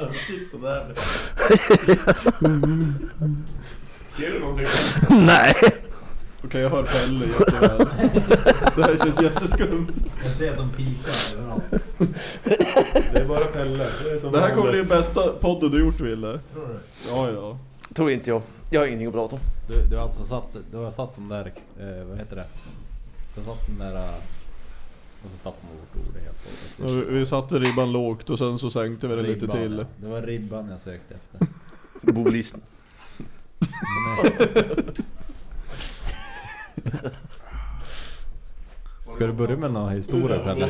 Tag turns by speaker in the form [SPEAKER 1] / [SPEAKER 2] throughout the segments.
[SPEAKER 1] Ja, precis sådär.
[SPEAKER 2] Ser du någonting?
[SPEAKER 3] Nej.
[SPEAKER 2] Okej, jag hör Pelle jätteväl. Det här känns jätteskumt.
[SPEAKER 4] Jag ser att de pikar överallt.
[SPEAKER 5] Det är bara Pelle. Det, är som
[SPEAKER 2] Det här kommer bli
[SPEAKER 5] vanligt.
[SPEAKER 2] den bästa podden du gjort, Wille.
[SPEAKER 4] Tror du?
[SPEAKER 2] Ja, ja.
[SPEAKER 3] Tror inte jag. Jag har ingenting att prata om.
[SPEAKER 4] Du, du har alltså satt, du har satt de där, eh, vad heter det? Du har satt den där... eh, Och så tappade man bort ordet helt och
[SPEAKER 2] Ja,
[SPEAKER 4] hållet.
[SPEAKER 2] vi- Vi satte ribban lågt och sen så sänkte vi den lite
[SPEAKER 4] Ribban,
[SPEAKER 2] till.
[SPEAKER 4] ja. Det var ribban jag sökte efter.
[SPEAKER 3] Bolisten.
[SPEAKER 4] Men, eh, Ska du börja med någon historia Pelle?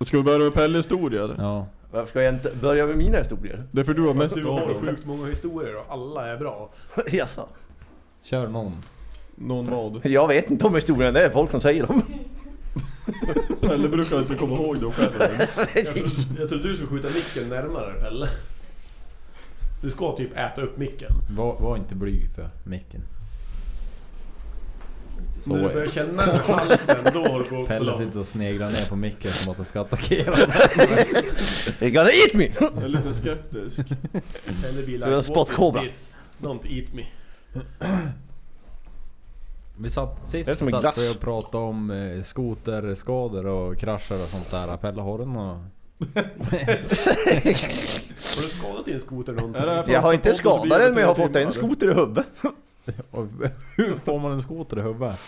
[SPEAKER 2] Ska vi börja med Pelles historia eller?
[SPEAKER 4] Ja.
[SPEAKER 3] Varför ska jag inte börja med mina historier?
[SPEAKER 2] Det är för du har mest
[SPEAKER 5] Du
[SPEAKER 2] av
[SPEAKER 5] har
[SPEAKER 2] dem.
[SPEAKER 5] sjukt många historier och alla är bra.
[SPEAKER 3] Jaså?
[SPEAKER 4] Kör någon.
[SPEAKER 2] Någon vad.
[SPEAKER 3] Jag vet inte om historien är folk som säger dem.
[SPEAKER 2] Pelle brukar inte komma ihåg dem själv ens.
[SPEAKER 5] Jag tror, jag tror du ska skjuta micken närmare Pelle. Du ska typ äta upp micken.
[SPEAKER 4] Var, var inte blyg för micken.
[SPEAKER 5] När du
[SPEAKER 3] är
[SPEAKER 5] börjar känna den i halsen, då håller du på för
[SPEAKER 4] Pelle
[SPEAKER 5] långt.
[SPEAKER 4] sitter och sneglar ner på micken som att den ska attackera.
[SPEAKER 3] They're gonna eat me!
[SPEAKER 2] Jag är lite skeptisk.
[SPEAKER 5] Pelle blir
[SPEAKER 3] Så är det en
[SPEAKER 5] like, "What is
[SPEAKER 3] spottkobra."
[SPEAKER 5] this? Don't eat me.
[SPEAKER 4] Vi satt
[SPEAKER 3] Är det
[SPEAKER 4] sist
[SPEAKER 3] som en
[SPEAKER 4] satt
[SPEAKER 3] glass?
[SPEAKER 4] vi och pratade om eh, skoterskador och krascher och sånt där. Pelle har du någon?
[SPEAKER 5] Har du skadat din skoter
[SPEAKER 2] Är det här
[SPEAKER 5] någonting?
[SPEAKER 3] Jag har
[SPEAKER 2] första
[SPEAKER 3] inte
[SPEAKER 2] podden som blir
[SPEAKER 3] skadat den men jag har
[SPEAKER 2] tre
[SPEAKER 3] fått en
[SPEAKER 2] timmar?
[SPEAKER 3] skoter i huvudet.
[SPEAKER 4] Och Hur får man en skoter i huvudet?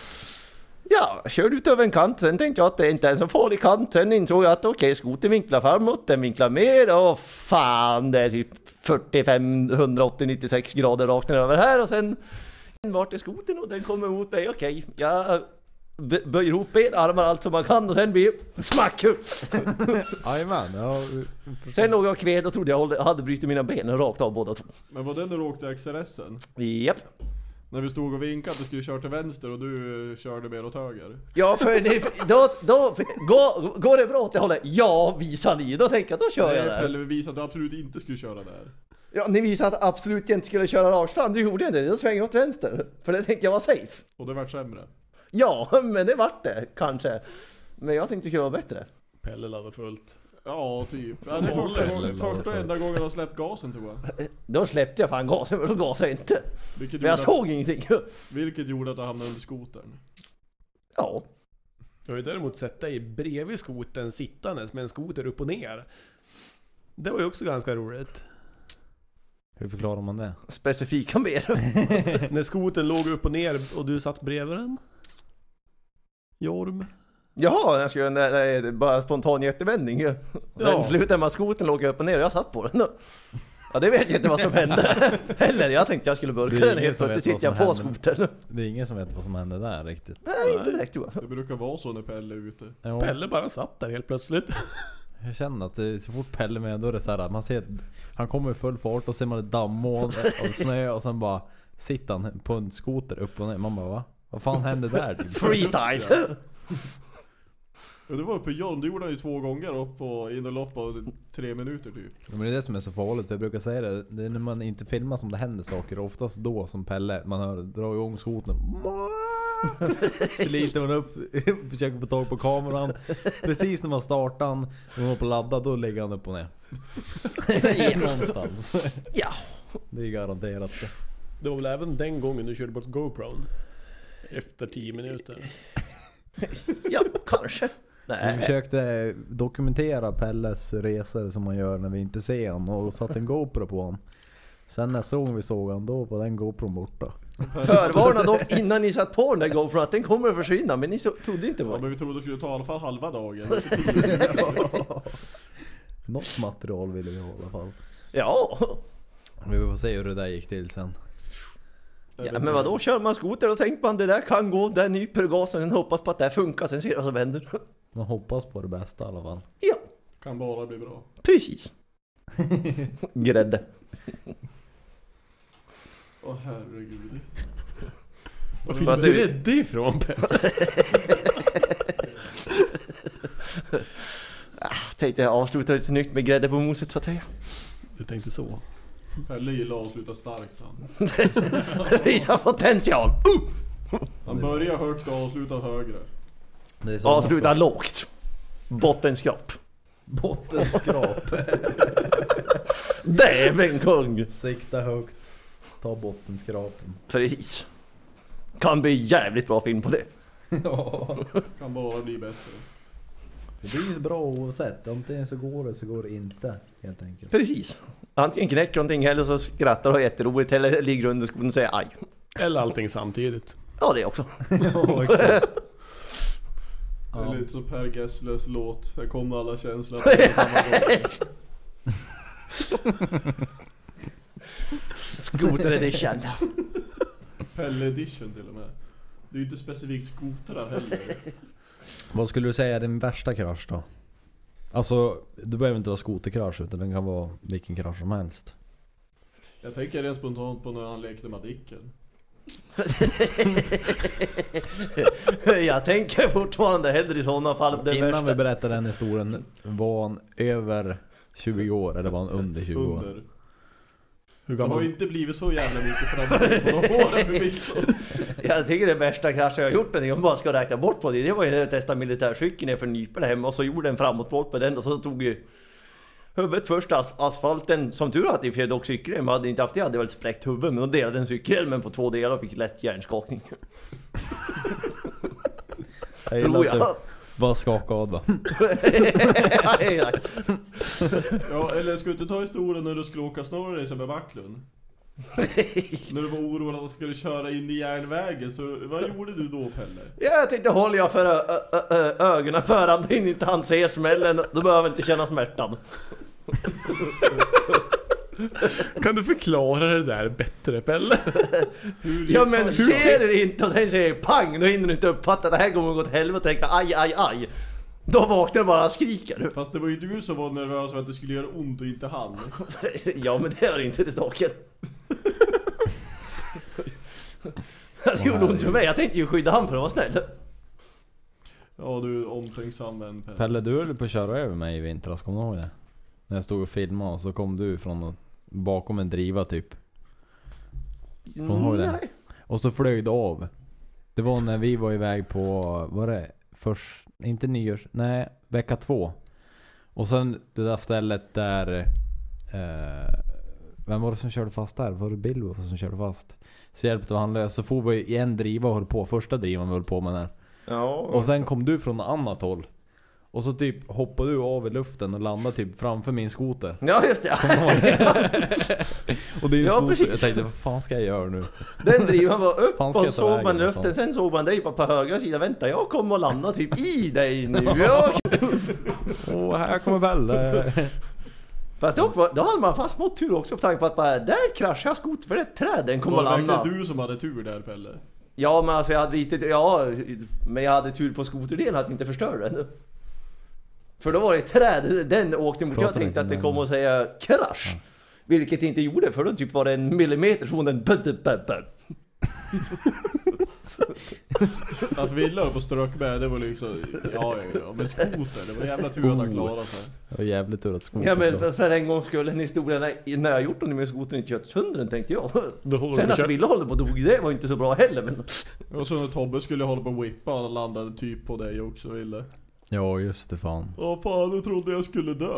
[SPEAKER 3] Ja, körde ut över en kant, sen tänkte jag att det inte är en så farlig kant. Sen insåg jag att okej, skotern vinklar framåt, den vinklar mer och fan det är typ 45, 180, 96 grader rakt ner över här och sen vart är skotern och den kommer mot mig. Okej, jag b- böjer ihop ben, armar allt som man kan och sen blir det smack!
[SPEAKER 4] Jajamän, ja.
[SPEAKER 3] Sen låg jag och kved och trodde jag hållde- hade brutit mina ben rakt av båda två.
[SPEAKER 2] Men var det när du åkte XRSen?
[SPEAKER 3] Japp.
[SPEAKER 2] När vi stod och vinkade att du skulle köra till vänster och du eh, körde mer åt höger?
[SPEAKER 3] Ja, för det, då, då, går, går det bra åt det hållet? Ja, visar ni. Då tänker jag, då kör jag där.
[SPEAKER 2] Eller vi visade att du absolut inte skulle köra där.
[SPEAKER 3] Ja, ni visade att absolut inte skulle köra rakt fram. Du gjorde inte det. Då svängde jag åt vänster. För det tänkte jag var safe.
[SPEAKER 2] Och det vart sämre.
[SPEAKER 3] Ja, men det vart det kanske. Men jag tänkte det skulle vara bättre.
[SPEAKER 5] Pelle laddar fullt.
[SPEAKER 2] Ja, typ. Ja, det är första,
[SPEAKER 5] vanligt.
[SPEAKER 2] gången- första och enda gången han har släppt gasen tror jag.
[SPEAKER 3] Då släppte jag fan gasen, men då gasade jag inte.
[SPEAKER 2] Vilket
[SPEAKER 3] Men
[SPEAKER 2] gjorde,
[SPEAKER 3] jag såg ingenting.
[SPEAKER 2] att, vilket gjorde att han hamnade under skotern.
[SPEAKER 3] Ja,
[SPEAKER 5] Jag har ju däremot sett dig bredvid skoten sittandes med en skoter upp och ner. Det var ju också ganska roligt.
[SPEAKER 4] Hur förklarar man det?
[SPEAKER 3] specifika mer.
[SPEAKER 5] När skoten låg upp och ner och du satt bredvid den. Jorm.
[SPEAKER 3] Jaha, jag skulle, nej, nej, det är bara spontan jättevändning ju. Och Sen
[SPEAKER 5] Ja.
[SPEAKER 3] slutade man skotern låg upp och ner och jag satt på den. Ja, det vet jag inte vad som hände heller. Jag tänkte jag skulle burka
[SPEAKER 4] Det är
[SPEAKER 3] den
[SPEAKER 4] ingen
[SPEAKER 3] helt
[SPEAKER 4] som
[SPEAKER 3] plötsligt
[SPEAKER 4] vet vad
[SPEAKER 3] sitter jag
[SPEAKER 4] som
[SPEAKER 3] på
[SPEAKER 4] händer.
[SPEAKER 3] skotern.
[SPEAKER 4] Det är ingen som vet vad som hände där riktigt.
[SPEAKER 3] Nej, inte direkt tror jag.
[SPEAKER 2] Det brukar vara så när Pelle är ute.
[SPEAKER 4] Ja,
[SPEAKER 5] Pelle bara satt där helt plötsligt.
[SPEAKER 4] Jag känner att det, så fort Pelle är med då är det så här att man ser att han kommer i full fart och ser man ett dammoln och snö och sen bara sitter han på en skoter upp och ner. Man bara va? Vad fan hände där? Typ?
[SPEAKER 3] Freestyle!
[SPEAKER 2] Ja, det var uppe i Jorm, det gjorde han ju två gånger upp på, inom lopp av tre minuter typ.
[SPEAKER 4] Ja, Men det är det som är så farligt, för jag brukar säga det, det är när man inte filmar som det händer saker, och oftast då som Pelle, man hör dra igång skotern. Sliter man upp, försöker få tag på kameran. Precis när man startar den, och man är på ladda, då lägger han upp och ner. Någonstans.
[SPEAKER 3] Ja.
[SPEAKER 4] Det är garanterat.
[SPEAKER 5] Det var väl även den gången du körde bort GoPron. Efter 10 minuter.
[SPEAKER 3] Ja, kanske.
[SPEAKER 4] Vi
[SPEAKER 3] Nej.
[SPEAKER 4] försökte eh, dokumentera Pelles resor som man gör när vi inte ser han och satte en GoPro på honom. Sen nästa gång vi såg honom, då var den GoPron borta.
[SPEAKER 3] Förvarna dock innan ni satt på den där GoPro att den kommer att försvinna, men ni så, trodde inte
[SPEAKER 2] Ja,
[SPEAKER 3] på det.
[SPEAKER 2] men vi trodde det skulle ta i alla fall halva dagen.
[SPEAKER 4] Något material ville vi ha i alla fall.
[SPEAKER 3] Ja.
[SPEAKER 4] Vi får se hur det där gick till sen.
[SPEAKER 3] ja, men vadå? Kör man skoter då tänker man det där kan gå, där nyper du gasen, sen hoppas på att det här funkar, sen ser vi vad som händer.
[SPEAKER 4] Man hoppas på det bästa i alla fall.
[SPEAKER 3] Ja,
[SPEAKER 2] Kan bara bli bra.
[SPEAKER 3] precis. Grädde.
[SPEAKER 2] Åh herregud.
[SPEAKER 5] Var fick
[SPEAKER 3] Fast
[SPEAKER 5] du
[SPEAKER 3] det-
[SPEAKER 5] det, det ifrån Pelle?
[SPEAKER 3] Jag tänkte jag avslutar lite snyggt med grädde på moset så att säga.
[SPEAKER 5] Du tänkte så.
[SPEAKER 2] Pelle gillar att avsluta starkt han.
[SPEAKER 3] Visa potential!
[SPEAKER 2] Han börjar högt och avslutar högre.
[SPEAKER 4] Det är så man
[SPEAKER 3] Avsluta
[SPEAKER 4] ska-
[SPEAKER 3] lågt. Bottenskrap.
[SPEAKER 4] Bottenskrap.
[SPEAKER 3] Däven kung!
[SPEAKER 4] Sikta högt. Ta bottenskrapen.
[SPEAKER 3] Precis. Kan bli jävligt bra film på det.
[SPEAKER 4] Ja.
[SPEAKER 2] Kan bara bli bättre.
[SPEAKER 4] Det blir ju bra oavsett. Om det inte så går det så går det inte. Helt enkelt.
[SPEAKER 3] Precis. Antingen knäcker någonting eller så skrattar och har jätteroligt eller ligger under skolan och säger aj.
[SPEAKER 5] Eller allting samtidigt.
[SPEAKER 3] Ja det också.
[SPEAKER 4] ja, exakt.
[SPEAKER 2] Det är
[SPEAKER 4] Ja.
[SPEAKER 2] lite som Per Gessles låt. Här kommer alla känslor på en och samma gång.
[SPEAKER 3] Scooter edition.
[SPEAKER 2] Pelle edition till och med. Det är ju inte specifikt skotrar heller.
[SPEAKER 4] Vad skulle du säga är din värsta krasch då? Alltså, det behöver inte vara skoterkrasch utan den kan vara vilken krasch som helst.
[SPEAKER 2] Jag tänker rent spontant på när han lekte med Dicken.
[SPEAKER 3] Jag tänker fortfarande hellre i sådana fall det
[SPEAKER 4] Innan vi
[SPEAKER 3] värsta.
[SPEAKER 4] berättar den historien, var han över 20 år eller var han under 20 år?
[SPEAKER 2] Under.
[SPEAKER 5] Hur
[SPEAKER 2] Det har
[SPEAKER 5] gammal?
[SPEAKER 2] ju inte blivit så jävla mycket framgång på några år förvisso.
[SPEAKER 3] Jag tycker det värsta kraschen jag har gjort, men om jag bara ska räkna bort på det, det var ju när jag testade militärcykeln ner för Nypel hemma och så gjorde jag en framåtvolt med den och så tog ju huvudet först as asfalten. Som tur var att det i och för sig dock cykelhjälm, hade jag inte haft det hade jag väl spräckt huvudet, men då delade den cykelhjälmen på två delar och fick lätt hjärnskakning.
[SPEAKER 4] Jag gillar
[SPEAKER 3] Tror
[SPEAKER 4] att
[SPEAKER 3] jag.
[SPEAKER 4] du bara skakade av va?
[SPEAKER 3] Aj, aj.
[SPEAKER 2] Ja, eller ska du inte ta historien när du skulle åka snowrace över Vacklund? när du var orolig att du skulle köra in i järnvägen, så vad gjorde du då Pelle?
[SPEAKER 3] Ja, jag tänkte håller jag för ö- ö- ö- ögonen för han hinner inte han se smällen, då behöver jag inte känna smärtan.
[SPEAKER 5] Kan du förklara det där bättre Pelle?
[SPEAKER 2] Hur
[SPEAKER 3] Ja men ser du inte och sen säger pang, då hinner du inte uppfatta det här kommer gå åt helvete och tänka aj, aj, aj. Då vaknar du bara och skriker.
[SPEAKER 2] Fast det var ju du som var nervös för att det skulle göra ont och inte han.
[SPEAKER 3] Ja men det hör inte till saken. Det gjorde ont för mig, jag tänkte ju skydda han för att vara snäll.
[SPEAKER 2] Ja du är omtänksam vän Pelle.
[SPEAKER 4] Pelle, du höll på att köra över mig i vintras, kommer du ihåg det? När jag stod och filmade och så kom du från bakom en driva typ. Kommer du ihåg det?
[SPEAKER 3] Nej.
[SPEAKER 4] Och så flög det av. Det var när vi var iväg på, var det först, inte nyårs, nej vecka två. Och sen det där stället där, eh, vem var det som körde fast där? Var det Bilbo som körde fast? Så hjälpte vi han lös, så for vi i en driva och höll på, första drivan vi höll på med där. Och sen kom du från ett annat håll. Och så typ hoppade du av i luften och landade typ framför min skoter.
[SPEAKER 3] Ja just det, ja.
[SPEAKER 4] Och din
[SPEAKER 3] Ja,
[SPEAKER 4] skoter,
[SPEAKER 3] precis.
[SPEAKER 4] jag tänkte vad fan ska jag göra nu?
[SPEAKER 3] Den drivan var upp
[SPEAKER 4] Fan, ska
[SPEAKER 3] och
[SPEAKER 4] jag ta
[SPEAKER 3] såg
[SPEAKER 4] vägen alltså?
[SPEAKER 3] man luften,
[SPEAKER 4] någonstans?
[SPEAKER 3] sen såg man dig bara på högra sidan. Vänta, jag kommer att landa typ i dig nu. Ja.
[SPEAKER 4] Åh, här kommer Pelle!
[SPEAKER 3] Fast dock, var- då hade man fast mått tur också på tanke på att bara, där kraschade jag skot för det träden kommer
[SPEAKER 2] Var
[SPEAKER 3] att
[SPEAKER 2] det
[SPEAKER 3] landa.
[SPEAKER 2] verkligen du som hade tur där Pelle?
[SPEAKER 3] Ja men alltså jag hade lite, ja, men jag hade tur på skoterdelen att inte förstöra den. För då var det ett träd, den åkte mot. Jag
[SPEAKER 4] Pratar
[SPEAKER 3] tänkte
[SPEAKER 4] inte
[SPEAKER 3] att det
[SPEAKER 4] med
[SPEAKER 3] kom
[SPEAKER 4] mig.
[SPEAKER 3] att säga krasch. Vilket det inte gjorde för då typ var det en millimeter från den bödde
[SPEAKER 2] Att Wille höll på och strök med, det var liksom... Ja, ja, ja. Men skoter, det var jävla tur
[SPEAKER 3] Oh.
[SPEAKER 2] att han klarade sig.
[SPEAKER 4] Det var jävligt tur att skotern
[SPEAKER 3] Ja men för, för en gång skulle en historia när när jag gjort honom med skotern inte kört sönder den tänkte jag.
[SPEAKER 5] Då håller
[SPEAKER 3] Sen
[SPEAKER 5] du
[SPEAKER 3] att
[SPEAKER 5] kört.
[SPEAKER 3] Wille håller på och dog, det var ju inte så bra heller men...
[SPEAKER 2] Och så när Tobbe skulle hålla på och whippa, han landade typ på dig också Wille.
[SPEAKER 4] Ja just det fan.
[SPEAKER 2] Ja fan, du trodde jag skulle dö.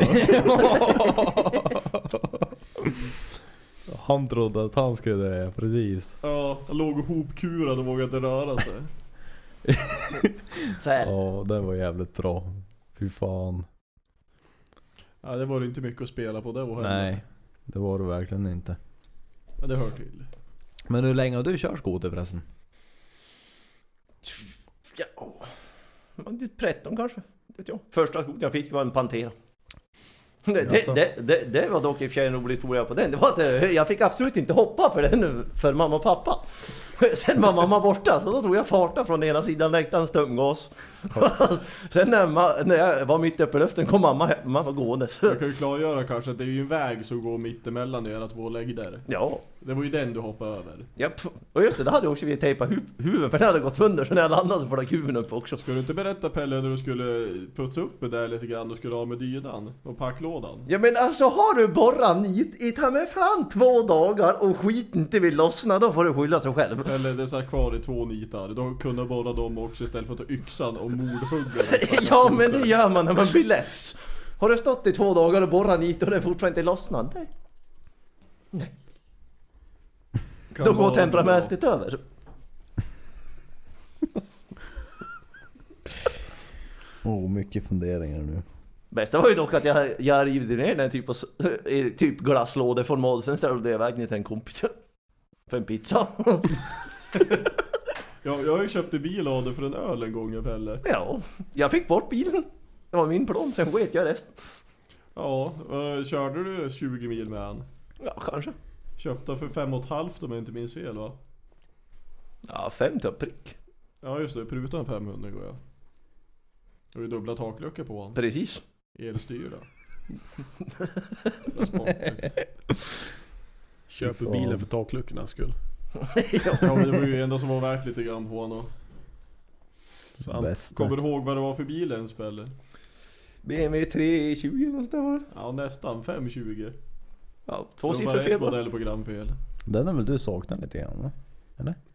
[SPEAKER 4] han trodde att han skulle dö, precis.
[SPEAKER 2] Ja, han låg hopkurad och vågade inte röra sig.
[SPEAKER 3] Så här.
[SPEAKER 4] Ja, det var jävligt bra. Fy fan.
[SPEAKER 2] Ja, det var inte mycket att spela på det var heller.
[SPEAKER 4] Nej, det var det verkligen inte.
[SPEAKER 2] Ja, det hör till.
[SPEAKER 4] Men hur länge har du kört skoter förresten?
[SPEAKER 3] Ja, åh. Ja, det är 13 kanske. Det Vet jag. Första skon jag fick var en Pantera. Det, det,
[SPEAKER 4] Jaså?
[SPEAKER 3] det, det, det var dock i och för sig en rolig historia på den. Det var att eh, jag fick absolut inte hoppa för den för mamma och pappa. Sen var mamma borta så då tog jag farta från ena sidan läktaren stumgas. Sen när, ma- när jag var mitt uppe i luften kom mamma hem. Mamma gåendes.
[SPEAKER 2] Jag kan ju klargöra kanske att det är ju en väg som går mittemellan era två läggder.
[SPEAKER 3] Ja,
[SPEAKER 2] Det var ju den du hoppade över.
[SPEAKER 3] japp. Och just det, det hade jag också vi tejpat hu- huvudet för det hade gått sönder så när jag landade så flög huvudet upp också.
[SPEAKER 2] Ska du inte berätta Pelle när du skulle putsa upp det där lite grann och skulle ha med dynan och packlådan?
[SPEAKER 3] Ja men alltså har du borrat nit i ta mig fan två dagar och skit inte vill lossna då får du skylla sig själv.
[SPEAKER 2] Eller det satt kvar i två nitar. De kunde borra dem också istället för att ta yxan och mordhugga dem.
[SPEAKER 3] Ja men det gör man när man blir less. Har du stått i två dagar och borrat hit och det fortfarande inte lossnat? Nej.
[SPEAKER 2] Kan
[SPEAKER 3] Då går
[SPEAKER 2] vara
[SPEAKER 3] temperamentet över.
[SPEAKER 6] Oh, mycket funderingar nu.
[SPEAKER 3] Bästa var ju dock att jag, jag rivde ner den typ, och, s- i typ glasslådor från Mall, sen ställde jag iväg den till en kompis. För en pizza.
[SPEAKER 2] bra. Ja, jag har ju köpt en bil av dig för en öl en gång Pelle.
[SPEAKER 3] ja, jag fick bort bilen. Det var min plan, sen sket jag i resten.
[SPEAKER 2] Ja, eh, körde du 20 mil med han?
[SPEAKER 3] Ja, kanske.
[SPEAKER 2] Köpte för fem och ett halvt om jag inte minns fel va?
[SPEAKER 3] Ja, fem till prick.
[SPEAKER 2] Ja just det, prutan 500 går jag. Och det är dubbla takluckor på han.
[SPEAKER 3] Precis.
[SPEAKER 2] Elstyrda. Jävla sportigt.
[SPEAKER 5] Köper
[SPEAKER 6] Fan.
[SPEAKER 5] bilen för takluckornas skull.
[SPEAKER 2] Ja men det var ju det enda som var värt lite grann på honom.
[SPEAKER 5] Sant.
[SPEAKER 6] Bästa.
[SPEAKER 2] Kommer du ihåg vad det var för bil ens Pelle?
[SPEAKER 3] BMW 320 eller nåt där.
[SPEAKER 2] Ja nästan, 520.
[SPEAKER 3] Ja, två
[SPEAKER 2] Två
[SPEAKER 3] siffror
[SPEAKER 2] siffror bara
[SPEAKER 3] fel
[SPEAKER 2] ett
[SPEAKER 3] bara.
[SPEAKER 2] modellprogram fel.
[SPEAKER 6] Den är väl du saknar lite grann? va?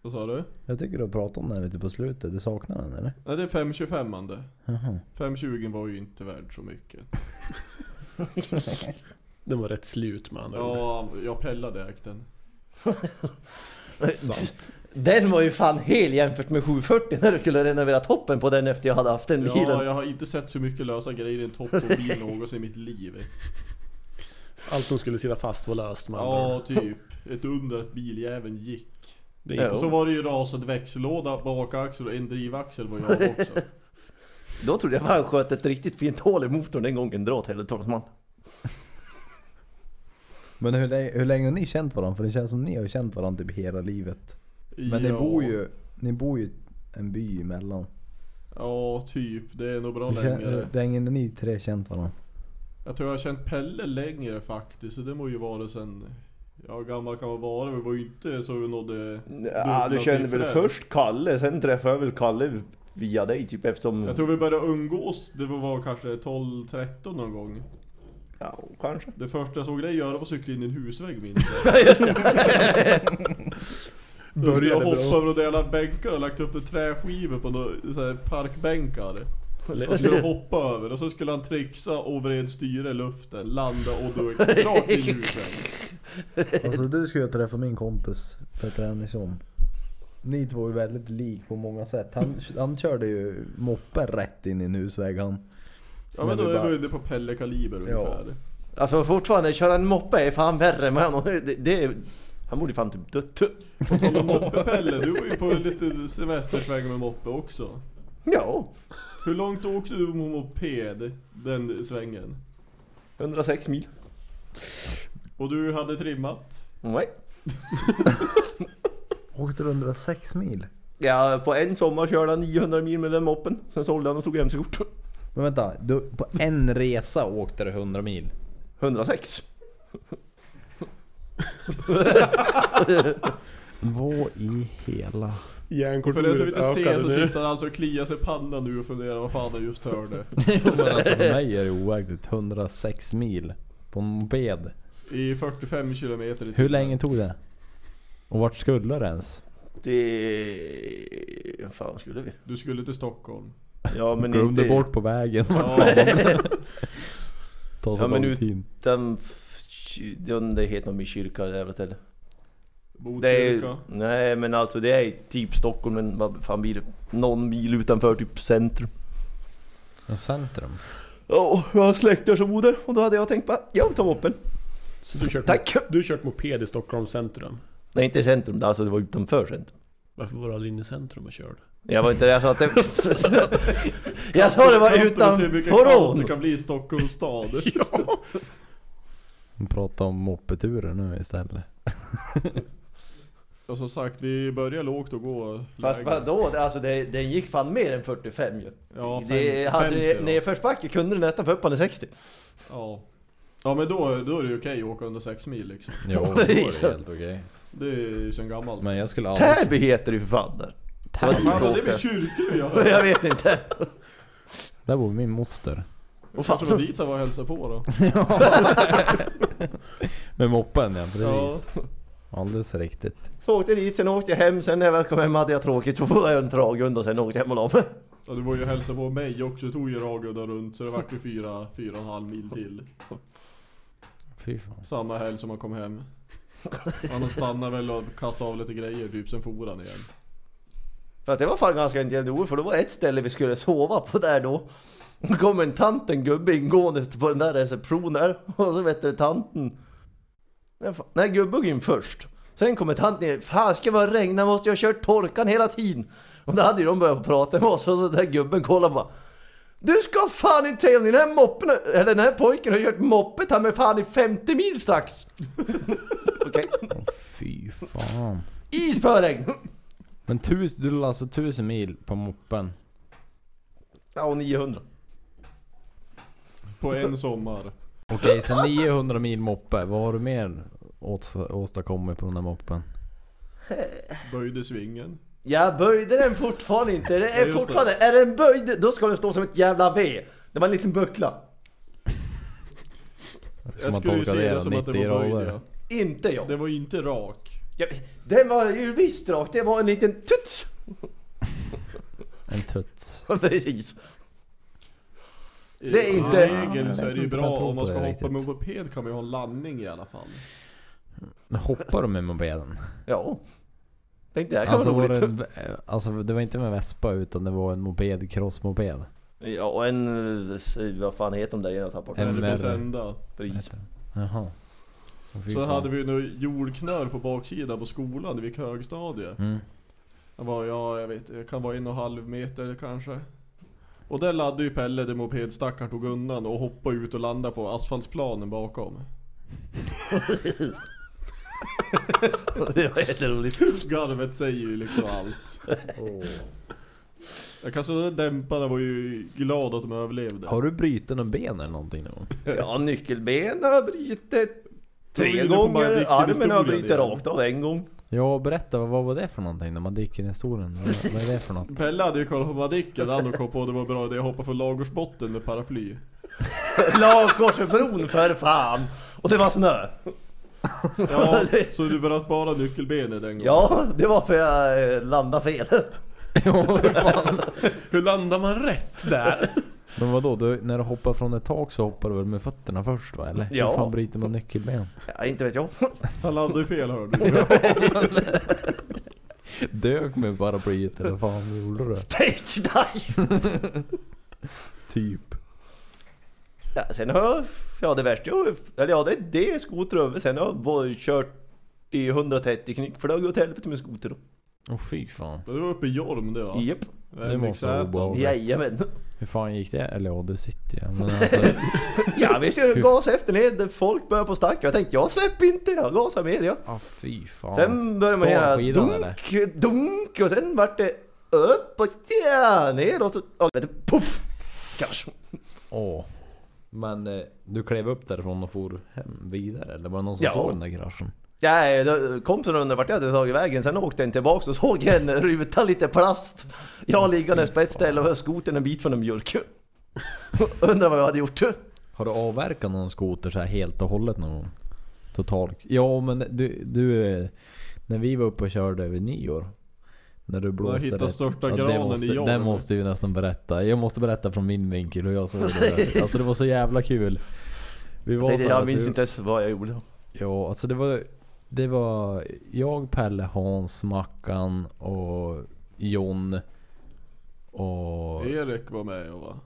[SPEAKER 2] Vad sa du?
[SPEAKER 6] Jag tycker du har pratat om den lite på slutet. Du saknar den eller?
[SPEAKER 2] Nej det är 525 det.
[SPEAKER 6] Jaha.
[SPEAKER 2] 520 var ju inte värd så mycket.
[SPEAKER 5] Den var rätt slut med andra ord.
[SPEAKER 2] Ja, jag pellade ägt den.
[SPEAKER 3] Den var ju fan hel jämfört med 740 när du skulle renovera toppen på den efter jag hade haft den bilen.
[SPEAKER 2] Ja, jag har inte sett så mycket lösa grejer i en topp som bil någonsin i mitt liv.
[SPEAKER 5] Allt som skulle sitta fast var löst med andra
[SPEAKER 2] Ja,
[SPEAKER 5] ord.
[SPEAKER 2] typ. Ett under att biljäveln gick.
[SPEAKER 5] Det gick
[SPEAKER 3] Ja.
[SPEAKER 2] Och så var det ju rasad växellåda, bakaxel och en drivaxel var jag också.
[SPEAKER 3] Då trodde jag fan jag sköt ett riktigt fint hål i motorn den gången, dra åt helvete man.
[SPEAKER 6] Men hur länge, hur länge har ni känt varandra? För det känns som ni har känt varandra typ hela livet. Men
[SPEAKER 2] ja,
[SPEAKER 6] ni bor ju ni bor ju en by emellan.
[SPEAKER 2] Ja, typ. Det är nog bra
[SPEAKER 6] Hur kän-
[SPEAKER 2] längre.
[SPEAKER 6] hur länge har ni tre känt varandra?
[SPEAKER 2] Jag tror jag har känt Pelle längre faktiskt, så det må ju vara sen... Ja, hur gammal kan man vara? Vi var ju inte så vi nådde...
[SPEAKER 3] Ja, du
[SPEAKER 2] dubbla
[SPEAKER 3] kände väl
[SPEAKER 2] siffror.
[SPEAKER 3] först Kalle, sen träffade jag väl Kalle via dig typ eftersom...
[SPEAKER 2] Jag tror vi började umgås, det var kanske 12-13 någon gång.
[SPEAKER 3] Ja, kanske.
[SPEAKER 2] Det första jag såg dig göra var att cykla in i en husvägg minns jag.
[SPEAKER 3] Just det.
[SPEAKER 2] Du skulle
[SPEAKER 5] Började
[SPEAKER 2] hoppa
[SPEAKER 5] bra.
[SPEAKER 2] över några jävla bänkar och lagt upp en träskivor på några så här parkbänkar. Och skulle hoppa över och så skulle han trixa och vred styre i luften, landa och dök rakt in i huset.
[SPEAKER 6] Alltså du skulle träffa min kompis Petter Henriksson. Ni två är väldigt lik på många sätt. Han, han körde ju moppen rätt in i en husväg han.
[SPEAKER 2] Ja men
[SPEAKER 6] Men
[SPEAKER 2] då
[SPEAKER 6] det
[SPEAKER 2] är
[SPEAKER 6] bara-
[SPEAKER 2] vi inne på Pelle Kaliber
[SPEAKER 6] Ja.
[SPEAKER 2] ungefär.
[SPEAKER 3] Alltså fortfarande, köra en moppe är fan värre men han, det, det är... Han borde fan typ dött.
[SPEAKER 2] På tal om moppe-Pelle, du var ju på en liten semestersväng med moppe också.
[SPEAKER 3] Ja,
[SPEAKER 2] Hur långt åkte du med moped den svängen?
[SPEAKER 3] 106 mil.
[SPEAKER 2] Och du hade trimmat?
[SPEAKER 3] Nej.
[SPEAKER 6] Åkte 106 mil.
[SPEAKER 3] Ja, på en sommar körde han 900 mil med den moppen. Sen sålde han och tog mc-kort.
[SPEAKER 4] Men vänta, du, på en resa åkte du 100 mil?
[SPEAKER 3] 106.
[SPEAKER 4] Vad i hela...
[SPEAKER 2] För den som
[SPEAKER 5] Järnkorridoret
[SPEAKER 2] inte ser så
[SPEAKER 5] ökade nu.
[SPEAKER 2] sitter han alltså och kliar sig i pannan nu och funderar vad fan han just hörde.
[SPEAKER 4] Men alltså för mig är det overkligt. 106 mil på en moped.
[SPEAKER 2] I 45 kilometer i
[SPEAKER 4] Hur
[SPEAKER 2] timmen.
[SPEAKER 4] länge tog det? Och vart skulle det ens?
[SPEAKER 3] Det... Vad fan skulle vi?
[SPEAKER 2] Du skulle till Stockholm.
[SPEAKER 3] Ja men
[SPEAKER 4] Glömde
[SPEAKER 3] inte...
[SPEAKER 4] bort på vägen.
[SPEAKER 2] Ja,
[SPEAKER 4] Ta så
[SPEAKER 3] Ja, men
[SPEAKER 4] lång
[SPEAKER 3] ut-
[SPEAKER 4] tid.
[SPEAKER 3] Den... f- ky- den- Det heter någon kyrka eller jävla ställe. Det är,
[SPEAKER 2] Botkyrka.
[SPEAKER 3] nej men alltså det är typ Stockholm men vad fan blir det? Någon mil utanför typ centrum.
[SPEAKER 4] Och centrum.
[SPEAKER 3] Ja, jag har släktingar som bor där och då hade jag tänkt bara, jag tar moppen.
[SPEAKER 5] Så du kört,
[SPEAKER 3] Tack!
[SPEAKER 5] du kört moped i Stockholms centrum.
[SPEAKER 3] Nej inte i centrum, alltså det var utanför centrum.
[SPEAKER 5] Varför var du aldrig inne i centrum och körde?
[SPEAKER 3] Jag var inte där, jag sa att det... jag sa det var
[SPEAKER 2] Utanför vilken kaos det
[SPEAKER 3] utanför.
[SPEAKER 2] kan bli i Stockholms stad.
[SPEAKER 4] Prata om moppeturer nu istället.
[SPEAKER 2] Och som sagt, vi börjar lågt och gå
[SPEAKER 3] Fast
[SPEAKER 2] lägre.
[SPEAKER 3] vadå? Alltså det, den gick fan mer än 45 ju.
[SPEAKER 2] Ja, fem,
[SPEAKER 3] det,
[SPEAKER 2] 50
[SPEAKER 3] hade det
[SPEAKER 2] då.
[SPEAKER 3] nedförsbacke kunde det nästan få upp honom i 60.
[SPEAKER 2] Ja. ja men då, då är det ju okej att åka under 6 mil liksom.
[SPEAKER 4] Jo,
[SPEAKER 3] då är det helt
[SPEAKER 4] helt okej.
[SPEAKER 2] Det är ju sen gammalt.
[SPEAKER 4] Men jag skulle aldrig...
[SPEAKER 3] Täby heter det ju för fan där. Det var
[SPEAKER 2] Vad
[SPEAKER 3] dit
[SPEAKER 2] fan
[SPEAKER 3] jag
[SPEAKER 2] har det med
[SPEAKER 3] åkte.
[SPEAKER 2] kyrkor att göra?
[SPEAKER 3] Jag vet inte.
[SPEAKER 4] Där bor min moster.
[SPEAKER 2] Jag kanske var dit jag var och hälsade på då.
[SPEAKER 4] Med moppen ja, precis.
[SPEAKER 2] Ja.
[SPEAKER 4] Alldeles riktigt.
[SPEAKER 3] Så åkte jag dit, sen åkte jag hem, sen när jag väl kom hem hade jag tråkigt så får jag en tragund och sen åkte jag hem och la mig.
[SPEAKER 2] Ja, du var ju och hälsade på mig också, du tog ju Ragunda runt så det vart ju fyra, fyra och en halv mil till.
[SPEAKER 4] Fy fan.
[SPEAKER 2] Samma helg som han kom hem. Han stannade väl och kastade av lite grejer typ, sen for han igen.
[SPEAKER 3] Fast det var fan ganska intressant för det var ett ställe vi skulle sova på där då. Då kom en tant, en gubbe ingående på den där receptionen och så vet du tanten. Nej, fan, Nej gubben gick in först. Sen kommer tanten in. Fan ska det regna måste jag ha kört torkan hela tiden. Och då hade ju de börjat prata med oss och så där gubben kollade bara. Du ska fan inte säga om den här moppen, eller den här pojken har kört moppet här med fan i 50 mil strax. Okej.
[SPEAKER 4] Åh, fy fan.
[SPEAKER 3] Isspöregn!
[SPEAKER 4] Men tus, du la alltså tusen mil på moppen.
[SPEAKER 3] Ja och 900.
[SPEAKER 2] På en sommar.
[SPEAKER 4] Okej, så 900 mil moppe. Vad har du mer åts- åstadkommit på den här moppen?
[SPEAKER 2] Böjde svingen.
[SPEAKER 3] Jag böjde den fortfarande inte. Det är
[SPEAKER 2] just det.
[SPEAKER 3] fortfarande, är den böjd då ska den stå som ett jävla V. Det var en liten buckla.
[SPEAKER 4] Ska
[SPEAKER 2] Jag
[SPEAKER 4] man
[SPEAKER 2] skulle ju
[SPEAKER 4] tolka
[SPEAKER 2] se
[SPEAKER 4] det,
[SPEAKER 2] det
[SPEAKER 4] då?
[SPEAKER 2] som att
[SPEAKER 4] 90
[SPEAKER 2] det var böjd
[SPEAKER 4] grader?
[SPEAKER 2] ja.
[SPEAKER 3] Inte jag.
[SPEAKER 2] Det var ju inte rak.
[SPEAKER 3] jag den var ju visst rak, det var en liten tuts.
[SPEAKER 4] En tuts.
[SPEAKER 3] Precis.
[SPEAKER 2] I
[SPEAKER 3] Det är inte-
[SPEAKER 2] regel så är det ju
[SPEAKER 4] Jag vet inte om
[SPEAKER 2] bra
[SPEAKER 4] jag tror
[SPEAKER 2] om man
[SPEAKER 4] på
[SPEAKER 2] ska
[SPEAKER 4] det
[SPEAKER 2] hoppa med
[SPEAKER 4] riktigt.
[SPEAKER 2] moped kan man ju ha en landning i alla fall.
[SPEAKER 4] Men Hoppar de med mopeden?
[SPEAKER 3] Ja. Tänkte det här kan
[SPEAKER 4] Alltså
[SPEAKER 3] vara
[SPEAKER 4] var det,
[SPEAKER 3] roligt.
[SPEAKER 4] en, vä- alltså det var inte med vespa utan det var en moped, crossmoped.
[SPEAKER 3] Ja och en, eh, vad fan heter de där jag tappar
[SPEAKER 4] En-
[SPEAKER 3] en...
[SPEAKER 2] Eller
[SPEAKER 4] MR.
[SPEAKER 2] på sända.
[SPEAKER 3] pris.
[SPEAKER 4] Jaha. Åh, fy
[SPEAKER 2] Så
[SPEAKER 4] fan.
[SPEAKER 2] hade vi ju några jordknöl på baksidan på skolan när vi gick högstadiet.
[SPEAKER 4] Mm.
[SPEAKER 2] Jag var, ja, jag vet, jag kan vara en och en halv meter kanske. Och där laddade ju Pelle, den mopedstackaren, tog undan och hoppade ut och landade på asfaltsplanen bakom.
[SPEAKER 3] Det var jätteroligt.
[SPEAKER 2] Garvet säger ju liksom allt.
[SPEAKER 6] Åh.
[SPEAKER 2] Jag kan säga att dämparna var ju glad att de överlevde.
[SPEAKER 4] Har du brutit någon ben eller någonting någon gång?
[SPEAKER 3] Ja nyckelben har jag brutit.
[SPEAKER 2] Då är vi
[SPEAKER 3] Tre
[SPEAKER 2] inne på
[SPEAKER 3] gånger, armen
[SPEAKER 2] bara
[SPEAKER 3] har jag
[SPEAKER 2] nyckelhistorien
[SPEAKER 3] brutit
[SPEAKER 2] igen.
[SPEAKER 3] rakt av en gång.
[SPEAKER 4] Ja, berätta vad, vad var det för någonting när man dyker i historien? Vad, vad är det för något?
[SPEAKER 2] Pelle hade ju kollat på Madicken, han kom på att det var bra idé att hoppa från ladugårdsbotten med paraply.
[SPEAKER 3] Lagkorsbron för fan! Och det var snö.
[SPEAKER 2] Ja, så du bröt bara nyckelbenet den gången?
[SPEAKER 3] Ja, det var för jag eh, landade fel.
[SPEAKER 4] Ja, hur fan.
[SPEAKER 5] Hur landar man rätt där?
[SPEAKER 4] Men vadå, du, när du hoppar från ett tak så hoppar du väl med fötterna först va? Eller?
[SPEAKER 3] Ja.
[SPEAKER 4] Hur fan bryter man nyckelben?
[SPEAKER 3] Ja, inte vet jag.
[SPEAKER 2] Han landade ju fel hörde du.
[SPEAKER 4] Dök med paraplyet eller fan gjorde du? det?
[SPEAKER 3] Stage dive!
[SPEAKER 4] Typ.
[SPEAKER 3] Ja, sen har jag, ja det värsta jag, eller ja det, det är skoter över. Sen har jag både kört i 130 knyck, för det har gått åt helvete med skoter då.
[SPEAKER 4] Åh fy fan.
[SPEAKER 2] Det var uppe i Jorm det va?
[SPEAKER 3] Japp.
[SPEAKER 4] Det måste vara
[SPEAKER 2] Vänviksätan.
[SPEAKER 4] obehagligt.
[SPEAKER 3] Jajamän.
[SPEAKER 4] Hur fan gick det? Eller ja, du sitter ju. Men alltså,
[SPEAKER 3] Ja vi ska gasa efter ned, folk börjar på stark. Jag tänkte jag släpper inte, jag gasar med jag.
[SPEAKER 4] ah, fy fan.
[SPEAKER 3] Sen började man göra
[SPEAKER 4] Stavskidan,
[SPEAKER 3] dunk, dunk och sen vart det upp och ja, ner och så, och vet du, puff! Krasch.
[SPEAKER 4] Åh. Men eh, du klev upp därifrån och for hem vidare? Eller var det någon som
[SPEAKER 3] Ja.
[SPEAKER 4] såg den där kraschen?
[SPEAKER 3] Nej, då- kompisen undrade vart jag hade tagit vägen. Sen åkte den tillbaks och såg en ruta lite plast.
[SPEAKER 4] Mm,
[SPEAKER 3] Jag liggandes på ett ställe och skotern en bit från en mjölk. Undrar vad jag hade gjort.
[SPEAKER 4] Har du avverkat någon skoter så här helt och hållet någon gång? Totalt? Ja men du, du... eh, När vi var uppe och körde vid nyår. När du blåste
[SPEAKER 2] hittat
[SPEAKER 4] rätt-
[SPEAKER 2] största
[SPEAKER 4] det
[SPEAKER 2] granen
[SPEAKER 4] måste,
[SPEAKER 2] i Jorm.
[SPEAKER 4] Det måste vi nästan berätta. Jag måste berätta från min vinkel hur jag såg det. Alltså det var så jävla kul. Vi
[SPEAKER 3] Jag, tänkte,
[SPEAKER 4] så här
[SPEAKER 3] jag
[SPEAKER 4] att
[SPEAKER 3] minns
[SPEAKER 4] vi-
[SPEAKER 3] inte ens vad jag gjorde.
[SPEAKER 4] Ja, alltså det var... Det var jag, Pelle, Hans, Mackan och Jon. Och...
[SPEAKER 3] Mm.
[SPEAKER 2] Erik var med och va?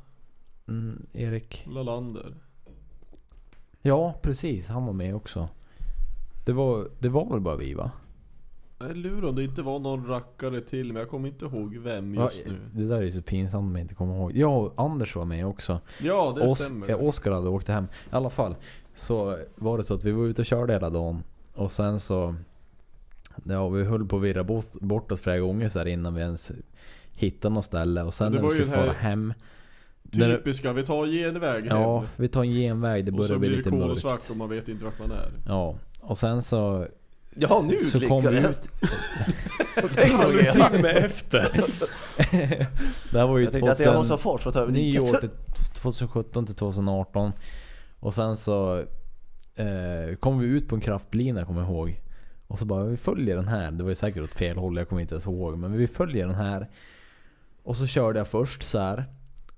[SPEAKER 4] Mm, Erik.
[SPEAKER 2] Lalander.
[SPEAKER 4] Ja, precis. Han var med också. Det var, det var väl bara vi va?
[SPEAKER 2] Jag lurar om det inte var någon rackare till men jag kommer inte ihåg vem just
[SPEAKER 4] Ja, eh,
[SPEAKER 2] nu.
[SPEAKER 4] Det där är ju så pinsamt om jag inte kommer ihåg. Ja, och Anders var med också.
[SPEAKER 2] Ja det
[SPEAKER 4] Os-
[SPEAKER 2] stämmer.
[SPEAKER 4] eh, Oskar hade åkt hem. I alla fall så var det så att vi var ute och körde hela dagen. Och sen så... Ja, vi höll på att virra bort, bort oss flera gånger så här innan vi ens hittade något ställe. Och sen
[SPEAKER 2] Men det
[SPEAKER 4] när vi
[SPEAKER 2] var ju
[SPEAKER 4] skulle
[SPEAKER 2] den
[SPEAKER 4] fara
[SPEAKER 2] här-
[SPEAKER 4] hem. när-
[SPEAKER 2] Typiska, vi tar genväg hem.
[SPEAKER 4] Ja, vi tar en genväg. Det
[SPEAKER 2] och
[SPEAKER 4] börjar
[SPEAKER 2] så
[SPEAKER 4] bli
[SPEAKER 2] blir
[SPEAKER 4] lite
[SPEAKER 2] det kol och svart
[SPEAKER 4] mörkt.
[SPEAKER 2] och man vet inte vart man är.
[SPEAKER 4] Ja, och sen så...
[SPEAKER 3] Ja, nu
[SPEAKER 4] så kom
[SPEAKER 3] klickar
[SPEAKER 4] vi
[SPEAKER 3] det.
[SPEAKER 4] ut.
[SPEAKER 3] Tänk vad det är.
[SPEAKER 5] Timme efter.
[SPEAKER 4] det här var ju
[SPEAKER 3] Jag tänkte att jag måste ha
[SPEAKER 4] 2000,
[SPEAKER 3] fart för att ta över
[SPEAKER 4] nio år
[SPEAKER 3] diket.
[SPEAKER 4] till 2017 till 2018. Och sen så eh, kom vi ut på en kraftlina kommer jag ihåg. Och så bara, vi följer den här. Det var ju säkert åt fel håll, jag kommer inte ens ihåg. Men vi följer den här. Och så körde jag först så här.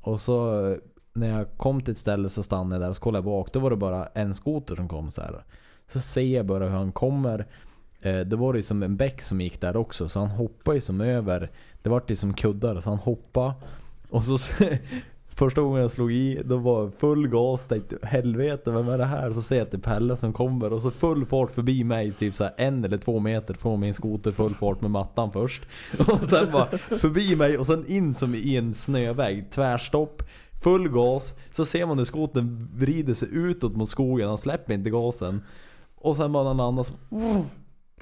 [SPEAKER 4] Och så eh, när jag kom till ett ställe så stannade jag där och så kollade jag bak. Då var det bara en skoter som kom så här. Så ser jag bara hur han kommer. Eh, Det var det ju som en bäck som gick där också. Så han hoppade ju som över. Det var ju som kuddar. Så han hoppade. Och så Första gången jag slog i, då var jag full gas. Tänkte helvete vem är det här? Så ser jag att det är Pelle som kommer och så full fart förbi mig. Typ så här en eller två meter från min skoter. Full fart med mattan först. Och sen bara förbi mig och sen in som i en snöväg. Tvärstopp. Full gas. Så ser man hur skotern vrider sig utåt mot skogen. Han släpper inte gasen. Och sen bara någon annan som...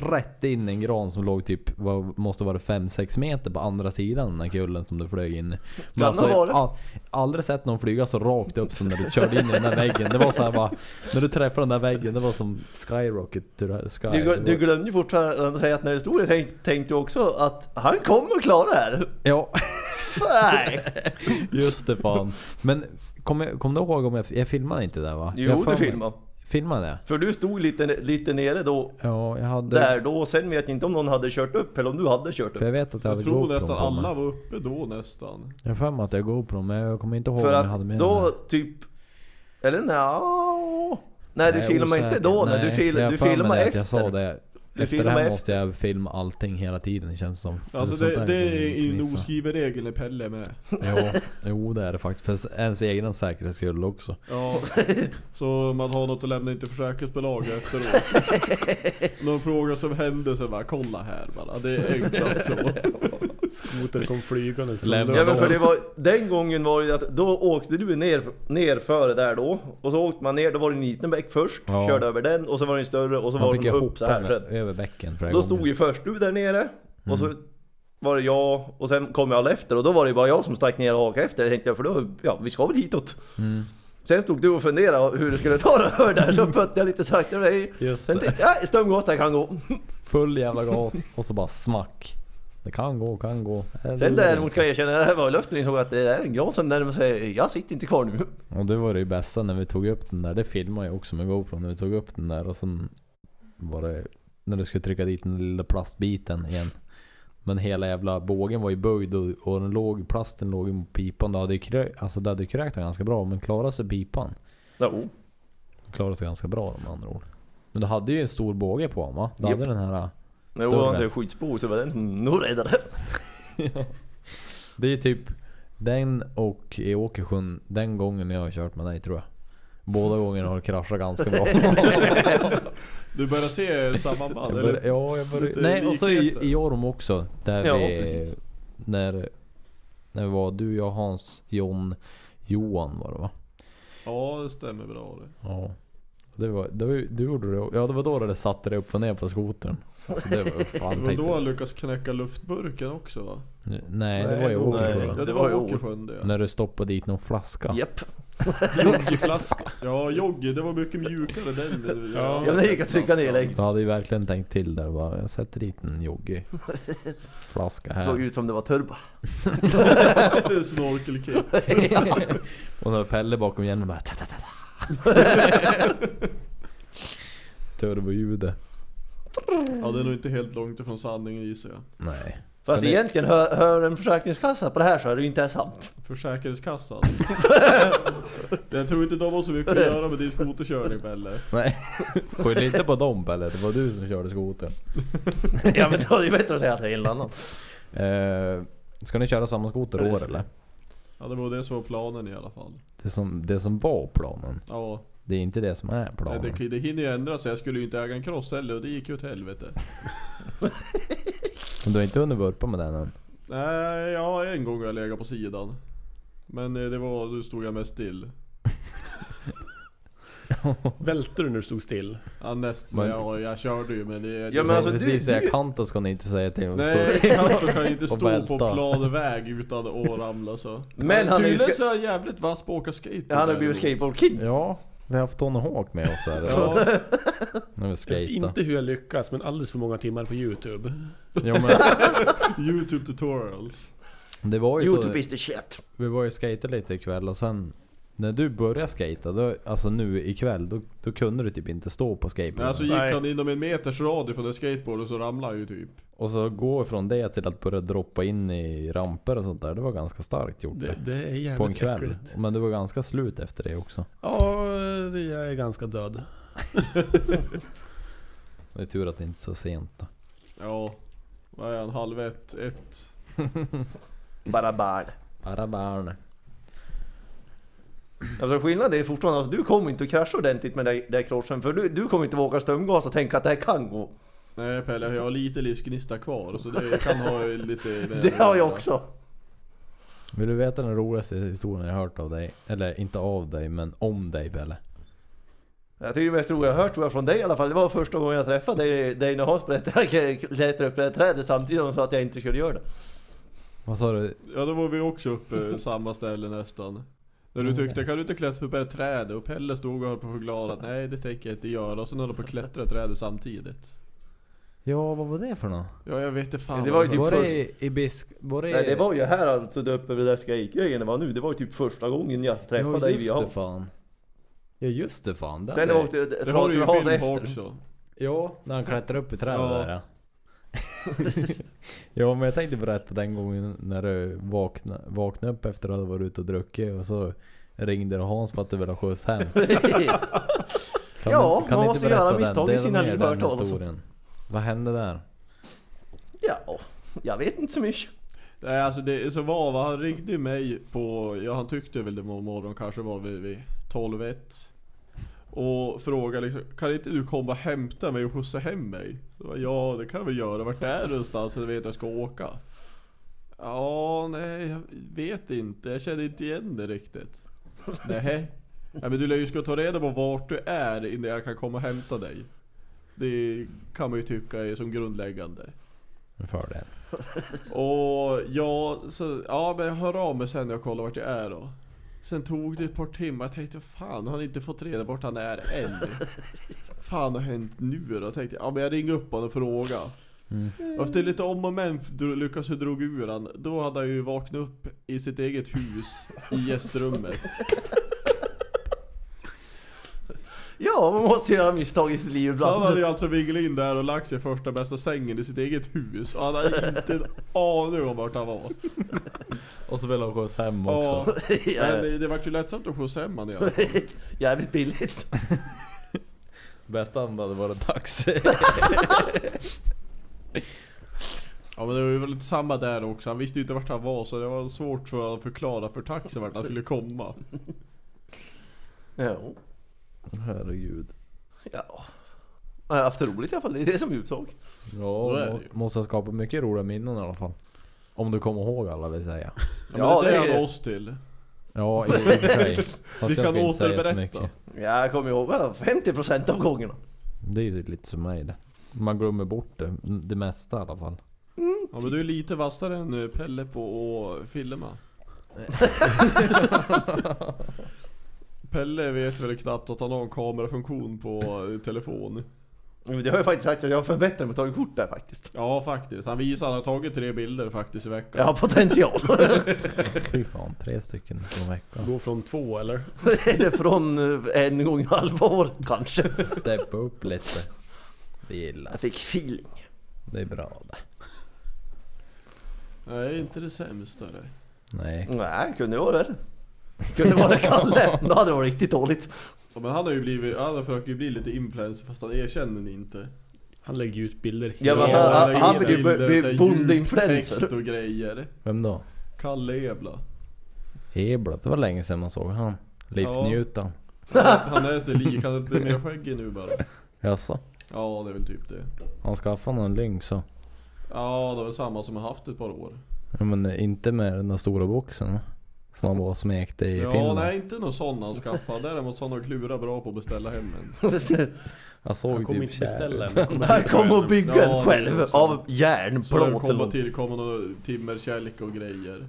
[SPEAKER 4] Rätt in i en gran som låg typ, vad måste vara 5-6 meter på andra sidan den här kullen som du flög in i. Men
[SPEAKER 3] ha
[SPEAKER 4] alltså,
[SPEAKER 3] varit.
[SPEAKER 4] all, aldrig sett någon flyga så rakt upp som när du körde in i den där väggen. Det var så här bara, när du träffade den där väggen, det var som skyrocket to the sky.
[SPEAKER 3] Du,
[SPEAKER 4] Det
[SPEAKER 3] glö- du
[SPEAKER 4] var-
[SPEAKER 3] glömde ju fortfarande säga att när det stod det tänk, tänkte du också att han kommer att klara det här.
[SPEAKER 4] ja,
[SPEAKER 3] Nej.
[SPEAKER 4] just det fan. Men kom, jag- kom du ihåg om jag, jag filmade inte där va?
[SPEAKER 3] Jo,
[SPEAKER 4] jag
[SPEAKER 3] du filmade.
[SPEAKER 4] Filmade jag?
[SPEAKER 3] För du stod lite, lite nere då,
[SPEAKER 4] Ja, jag hade...
[SPEAKER 3] där då, och sen vet jag inte om någon hade kört upp eller om du hade kört upp.
[SPEAKER 4] För jag vet att
[SPEAKER 2] Jag
[SPEAKER 4] jag, hade
[SPEAKER 2] tror
[SPEAKER 4] GoPro
[SPEAKER 2] nästan
[SPEAKER 4] på mig.
[SPEAKER 2] alla var uppe då nästan.
[SPEAKER 4] Jag har för mig att jag går på dem, men jag kommer inte ihåg
[SPEAKER 3] För
[SPEAKER 4] om jag hade
[SPEAKER 3] att
[SPEAKER 4] med
[SPEAKER 3] då
[SPEAKER 4] den.
[SPEAKER 3] typ... Eller nja... Nej du
[SPEAKER 4] Jag är
[SPEAKER 3] filmar inte då,
[SPEAKER 4] osäker.
[SPEAKER 3] nej, du, fil,
[SPEAKER 4] jag
[SPEAKER 3] du
[SPEAKER 4] har för mig
[SPEAKER 3] filmar
[SPEAKER 4] det, att
[SPEAKER 3] efter.
[SPEAKER 4] Jag sa det.
[SPEAKER 3] Du
[SPEAKER 4] efter det
[SPEAKER 3] filmar
[SPEAKER 4] här
[SPEAKER 3] efter.
[SPEAKER 4] måste jag filma allting hela tiden känns det som. För
[SPEAKER 2] Alltså
[SPEAKER 4] sånt
[SPEAKER 2] det,
[SPEAKER 4] där
[SPEAKER 2] det
[SPEAKER 4] kan jag
[SPEAKER 2] är
[SPEAKER 4] inte
[SPEAKER 2] ju en
[SPEAKER 4] missa.
[SPEAKER 2] oskriven regel när Pelle är med.
[SPEAKER 4] Jo, jo det är det faktiskt. För ens egna säkerhets skull också.
[SPEAKER 2] Ja. Så man har något att lämna in till försäkringsbolaget efteråt. Någon fråga som hände så bara kolla här bara. Det är enklast så.
[SPEAKER 5] Skotern kom flygande. så
[SPEAKER 4] Lämna
[SPEAKER 5] lugnt.
[SPEAKER 3] Ja, men för det var, den gången var det att då åkte du ner, ner före där då och så åkte man ner, då var det en liten bäck först,
[SPEAKER 4] Ja.
[SPEAKER 3] körde över den och så var det en större och så
[SPEAKER 4] Han
[SPEAKER 3] var
[SPEAKER 4] fick
[SPEAKER 3] den
[SPEAKER 4] jag
[SPEAKER 3] upp så
[SPEAKER 4] hoppa
[SPEAKER 3] här
[SPEAKER 4] med,
[SPEAKER 3] sen.
[SPEAKER 4] över bäcken flera
[SPEAKER 3] Då stod
[SPEAKER 4] gånger.
[SPEAKER 3] ju först du där nere och
[SPEAKER 4] Mm.
[SPEAKER 3] så var det jag och sen kom jag alla efter och då var det bara jag som stack ner och hakade efter tänkte jag för då, ja vi ska väl hitåt.
[SPEAKER 4] Mm.
[SPEAKER 3] Sen stod du och funderade hur du skulle ta dig över där så puttade jag lite sakta med dig.
[SPEAKER 4] Just Mm.
[SPEAKER 3] Sen tänkte jag, "Nej, stumgas där kan gå.
[SPEAKER 4] Full jävla gas och så bara smack. Det kan gå, kan gå.
[SPEAKER 3] Sen däremot kan jag erkänna, det här var i luften insåg jag att det är en gran som närmar sig, jag sitter inte kvar nu.
[SPEAKER 4] Och det var det ju bästa när vi tog upp den där. Det filmade jag också med GoPro när vi tog upp den där. Och sen var det när du skulle trycka dit den lilla plastbiten igen. Men hela jävla bågen var ju böjd och, och den låg, plasten låg i pipan. Det hade ju krö, alltså det hade ju kräkt den ganska bra. Men klarade sig pipan.
[SPEAKER 3] Jo.
[SPEAKER 4] Den Klarade sig ganska bra med andra ord. Men du hade ju en stor båge på honom va? Du
[SPEAKER 3] Japp.
[SPEAKER 4] hade den här...
[SPEAKER 3] Jo,
[SPEAKER 4] Större.
[SPEAKER 3] han säger skyddsbo så var den som nog räddade.
[SPEAKER 4] Det är typ den och i Åkersjön den gången jag har kört med dig tror jag. Båda gångerna har det kraschat ganska bra.
[SPEAKER 2] Du börjar se sammanband
[SPEAKER 4] Jag bör,
[SPEAKER 2] eller?
[SPEAKER 4] ja, jag bör,
[SPEAKER 2] lite
[SPEAKER 4] nej, och så i,
[SPEAKER 2] likheter.
[SPEAKER 4] i Orm också. Där
[SPEAKER 3] Ja,
[SPEAKER 4] vi,
[SPEAKER 3] precis.
[SPEAKER 4] när, när vi var du, jag, Hans, Jon, Johan var det va?
[SPEAKER 2] Ja det stämmer bra det.
[SPEAKER 4] Ja. Det var, det var, ju- du gjorde det, ja det var då det satte dig upp och ner på skotern. Så det var fan
[SPEAKER 2] Det var
[SPEAKER 4] tänkte
[SPEAKER 2] då han
[SPEAKER 4] jag.
[SPEAKER 2] lyckas knäcka luftburken också va?
[SPEAKER 4] Nej det
[SPEAKER 5] Nej,
[SPEAKER 4] var i
[SPEAKER 5] då-
[SPEAKER 4] Åkersjö.
[SPEAKER 2] Ja
[SPEAKER 3] nej.
[SPEAKER 2] det
[SPEAKER 3] Det
[SPEAKER 2] var
[SPEAKER 3] var i
[SPEAKER 2] Åkersjön det.
[SPEAKER 4] När du stoppade dit någon flaska.
[SPEAKER 3] Japp.
[SPEAKER 2] Joggiflaska. Ja, joggi. Det var mycket mjukare den.
[SPEAKER 5] Ja,
[SPEAKER 3] Ja, men det gick att trycka ner lägg.
[SPEAKER 4] Du hade ju verkligen tänkt till där bara, jag sätter dit en joggi. Flaska
[SPEAKER 3] Såg
[SPEAKER 4] här.
[SPEAKER 3] ut som det var turbo.
[SPEAKER 2] Snorkelkick.
[SPEAKER 4] Och när Pelle bakom igen bara ta, ta, ta, ta. Turboljudet.
[SPEAKER 2] Ja, det är nog inte helt långt ifrån sanningen gissar jag.
[SPEAKER 4] Nej.
[SPEAKER 3] Fast
[SPEAKER 4] Men det-
[SPEAKER 3] egentligen, hör, hör en försäkringskassa på det här så är det ju inte sant.
[SPEAKER 2] Försäkringskassan. jag tror inte de har så mycket att göra med din skoterkörning Pelle.
[SPEAKER 4] Nej. Skyll inte på dem eller? Det var du som körde skotern.
[SPEAKER 3] ja men då är det ju bättre att säga att det är en annan.
[SPEAKER 4] Eh, ska ni köra samma skoter i år eller?
[SPEAKER 2] Ja, det var det som var planen i alla fall.
[SPEAKER 4] Det som, det som var planen.
[SPEAKER 2] Ja,
[SPEAKER 4] Det är inte det som är
[SPEAKER 2] nej,
[SPEAKER 4] planen.
[SPEAKER 2] det, det hinner ju ändra sig. Jag skulle ju inte äga en cross heller och det gick ju åt helvete.
[SPEAKER 4] Men du har inte hunnit vurpa med den än?
[SPEAKER 2] Nej, ja, en gång har jag legat på sidan. Men eh, det var, då stod jag mest still.
[SPEAKER 5] Välte du när du stod still?
[SPEAKER 2] Ja, näst,
[SPEAKER 4] Men-
[SPEAKER 2] ja, jag körde ju men det... det
[SPEAKER 3] Ja, men alltså, du-
[SPEAKER 4] Precis, jag
[SPEAKER 3] du-
[SPEAKER 4] kan inte ska ni inte säga till mig.
[SPEAKER 2] Nej, Kanto kan ju inte
[SPEAKER 4] Och
[SPEAKER 2] stå
[SPEAKER 4] välta.
[SPEAKER 2] på plan väg utan att ramla så.
[SPEAKER 3] Men han är ju
[SPEAKER 2] Tydligen
[SPEAKER 3] ska-
[SPEAKER 2] så är han jävligt vass på att åka skateboard.
[SPEAKER 3] Han har blivit
[SPEAKER 2] däremot.
[SPEAKER 3] skateboardking.
[SPEAKER 4] Ja, vi har haft Tony Hawk med oss här.
[SPEAKER 2] Ja,
[SPEAKER 4] När vi
[SPEAKER 5] Jag vet
[SPEAKER 4] skejtade.
[SPEAKER 5] inte hur jag lyckas, men alldeles för många timmar på Youtube.
[SPEAKER 4] Jo, men
[SPEAKER 2] Youtube tutorials.
[SPEAKER 4] det var ju så.
[SPEAKER 3] Youtube is the shit.
[SPEAKER 4] Vi var ju och skejtade lite ikväll och sen När du började skata, då, alltså nu ikväll, då, då kunde du typ inte stå på skateboarden.
[SPEAKER 2] Men alltså gick
[SPEAKER 5] Nej.
[SPEAKER 2] han inom en meters radie från en skateboard och så ramlade han ju typ.
[SPEAKER 4] Och så gå från det till att börja droppa in i ramper och sånt där, det var ganska starkt gjort.
[SPEAKER 5] Det, det är
[SPEAKER 4] på en
[SPEAKER 5] jävligt
[SPEAKER 4] kväll.
[SPEAKER 5] äckligt.
[SPEAKER 4] Men du var ganska slut efter det också.
[SPEAKER 5] Ja, det- jag är ganska död.
[SPEAKER 4] Det är tur att det inte är så sent då.
[SPEAKER 2] Ja. Vad är han? Halv ett? Ett?
[SPEAKER 3] Bara barn.
[SPEAKER 4] Bara barn.
[SPEAKER 3] Alltså skillnaden är fortfarande att alltså, du kommer inte att krascha ordentligt med den där krossen för du, du kommer inte våga stömgas och tänka att det här kan gå.
[SPEAKER 2] Nej Pelle, jag har lite livsgnista kvar så det kan ha lite...
[SPEAKER 3] Det har jag också.
[SPEAKER 4] Vill du veta den roligaste historien jag hört av dig? Eller inte av dig, men om dig Pelle.
[SPEAKER 3] Jag tycker det mest roliga jag hört tror jag från dig i alla fall, det var första gången jag träffade dig, dig när Hans berättade att jag klättrade upp det här trädet samtidigt som de sa att jag inte skulle göra det.
[SPEAKER 4] Vad sa du?
[SPEAKER 2] Ja då var vi också uppe samma ställe nästan. När du tyckte kan du inte klättra upp ett träd? Och Pelle stod och höll på att förklara att nej det tänker jag inte göra. Och sen höll han på att klättra ett träd samtidigt.
[SPEAKER 4] Ja, vad var det för något?
[SPEAKER 2] Ja jag vet inte fan.
[SPEAKER 3] Men det
[SPEAKER 2] vad
[SPEAKER 3] var ju typ
[SPEAKER 4] var
[SPEAKER 3] först-
[SPEAKER 4] det i- i Bisk... Var det...
[SPEAKER 3] Nej det var ju här alltså där uppe vid det där skate-grejen det var nu, det var ju typ första gången jag träffade dig via
[SPEAKER 4] Ja just det
[SPEAKER 3] Hans.
[SPEAKER 4] fan. Ja just det fan. Det
[SPEAKER 3] Sen
[SPEAKER 4] hade-
[SPEAKER 3] åkte
[SPEAKER 2] Det har
[SPEAKER 3] pratade
[SPEAKER 2] du
[SPEAKER 3] vi
[SPEAKER 2] ju
[SPEAKER 3] Hans
[SPEAKER 2] film på
[SPEAKER 3] efter.
[SPEAKER 2] också.
[SPEAKER 4] Ja, när han klättrar upp i trädet
[SPEAKER 2] Ja.
[SPEAKER 4] där ja. ja men jag tänkte berätta den gången när du vaknade, vaknade upp efter att du varit ute och druckit och så ringde du Hans för att du ville ha skjuts hem. Kan
[SPEAKER 3] Ja,
[SPEAKER 4] du-
[SPEAKER 3] man
[SPEAKER 4] ni
[SPEAKER 3] måste
[SPEAKER 4] berätta
[SPEAKER 3] göra
[SPEAKER 4] den?
[SPEAKER 3] misstag i
[SPEAKER 4] Dela
[SPEAKER 3] sina
[SPEAKER 4] med
[SPEAKER 3] liv,
[SPEAKER 4] den
[SPEAKER 3] har jag hört talas om.
[SPEAKER 4] historien. Vad hände där?
[SPEAKER 3] ja, jag vet inte så mycket.
[SPEAKER 2] Nej alltså det så var vad han ringde mig på, ja han tyckte väl det var morgon kanske var vid, vid 12 Och frågade liksom, kan inte du komma och hämta mig och skjutsa hem mig? Så jag bara, ja det kan vi göra, vart är du någonstans så jag vet att jag ska åka? Ja, nej jag vet inte, jag känner inte igen det riktigt. Nej. Ja, men du lär ju ska ta reda på vart du är innan jag kan komma och hämta dig. Det kan man ju tycka är som grundläggande.
[SPEAKER 4] En fördel.
[SPEAKER 2] Och ja, så, ja men jag hör av mig sen när jag kollar vart jag är då. Sen tog det ett par timmar, jag tänkte fan har han inte fått reda vart han är än? fan har hänt nu då? Tänkte jag, ja men jag ringer upp honom och frågar. Efter lite om och men dro- lyckas jag drog ur han. Då hade han ju vaknat upp i sitt eget hus i gästrummet.
[SPEAKER 3] Ja, man måste göra misstag i sitt liv
[SPEAKER 2] Så han
[SPEAKER 3] ibland.
[SPEAKER 2] hade ju alltså vinglat in där och lagt sig i första bästa sängen i sitt eget hus. Och han hade inte en aning om vart han var.
[SPEAKER 4] Och så ville han skjuts hem
[SPEAKER 2] Ja,
[SPEAKER 4] också.
[SPEAKER 2] men det, det vart ju lättsamt att skjutsa hem honom i alla fall.
[SPEAKER 3] Jävligt billigt.
[SPEAKER 4] Bästa om det hade varit taxi.
[SPEAKER 2] Ja men det var ju väl lite samma där också, han visste ju inte vart han var så det var svårt för honom att förklara för taxin vart han skulle komma.
[SPEAKER 3] Ja.
[SPEAKER 4] Herregud.
[SPEAKER 3] ja. Jag har haft roligt i alla fall, det är det som är utsåg.
[SPEAKER 4] Ja,
[SPEAKER 2] är det
[SPEAKER 4] må-
[SPEAKER 2] ju.
[SPEAKER 4] måste ha skapat mycket roliga minnen i alla fall. Om du kommer ihåg alla vill säga.
[SPEAKER 2] Ja, men
[SPEAKER 3] Ja,
[SPEAKER 2] det, är
[SPEAKER 3] det-
[SPEAKER 2] han oss till.
[SPEAKER 4] Ja, i och för sig. Fast
[SPEAKER 2] Vi
[SPEAKER 4] jag
[SPEAKER 2] kan
[SPEAKER 4] ska inte säga så
[SPEAKER 2] återberätta.
[SPEAKER 4] mycket.
[SPEAKER 3] Jag kommer ihåg bara 50% av gångerna.
[SPEAKER 4] Det är ju typ lite som mig det. Man glömmer bort det, det mesta i alla fall.
[SPEAKER 2] Ja men du är lite vassare än eh, Pelle på att filma. Pelle vet väl knappt att han har en kamerafunktion på eh, telefon.
[SPEAKER 3] Men det har jag faktiskt sagt att jag har förbättrat mig på att ta kort där faktiskt.
[SPEAKER 2] Ja faktiskt, han visar han har tagit tre bilder faktiskt i veckan.
[SPEAKER 3] Jag har potential.
[SPEAKER 4] Fy fan, tre stycken på veckan.
[SPEAKER 5] Gå från två eller?
[SPEAKER 3] det är från eh, en gång i halvår kanske.
[SPEAKER 4] Steppa upp lite.
[SPEAKER 3] Jag
[SPEAKER 4] Det gillas.
[SPEAKER 3] fick feeling.
[SPEAKER 4] Det är bra det.
[SPEAKER 2] Nej inte det sämsta det.
[SPEAKER 4] Nej.
[SPEAKER 3] Nej, kunde vara det. Kunde vara Kalle. Då hade det varit riktigt dåligt.
[SPEAKER 2] Ja, men han har ju blivit, han försöker ju bli lite influencer fast han erkänner det inte.
[SPEAKER 5] Han lägger ju ut bilder
[SPEAKER 3] Ja, men
[SPEAKER 5] hela
[SPEAKER 3] han-
[SPEAKER 2] han lägger
[SPEAKER 3] han
[SPEAKER 2] in
[SPEAKER 3] vill ju bli-
[SPEAKER 2] bilder,
[SPEAKER 3] bli
[SPEAKER 2] så här
[SPEAKER 3] bondeinfluencer.
[SPEAKER 2] djuptext och grejer.
[SPEAKER 4] Vem då?
[SPEAKER 2] Kalle Ebla.
[SPEAKER 4] Ebla. Det var länge sedan man såg han. Livsnjutaren.
[SPEAKER 2] Han är sig lik, han är lite mer skäggig nu bara.
[SPEAKER 4] Jaså?
[SPEAKER 2] Ja, det är väl typ det.
[SPEAKER 4] Han skaffade någon lyng så.
[SPEAKER 2] Ja, det är väl samma som har haft ett par år.
[SPEAKER 4] Ja, men inte med den där stora boxen va? Som han bara smekte i
[SPEAKER 2] ja,
[SPEAKER 4] Finland.
[SPEAKER 2] nej inte någon sån han skaffade. Däremot sån han klurar bra på att beställa hem en.
[SPEAKER 4] Jag såg
[SPEAKER 5] Han kommer
[SPEAKER 4] typ
[SPEAKER 5] inte
[SPEAKER 4] kär
[SPEAKER 5] beställa
[SPEAKER 4] ut.
[SPEAKER 5] men kommer
[SPEAKER 3] Han
[SPEAKER 5] bli
[SPEAKER 3] kom
[SPEAKER 5] skön.
[SPEAKER 3] och byggde
[SPEAKER 2] Ja,
[SPEAKER 3] en
[SPEAKER 2] det
[SPEAKER 3] själv
[SPEAKER 2] också.
[SPEAKER 3] av
[SPEAKER 2] Så det
[SPEAKER 3] järnplåt.
[SPEAKER 2] kommer
[SPEAKER 3] eller-
[SPEAKER 2] tillkomma några timmerkälke och grejer.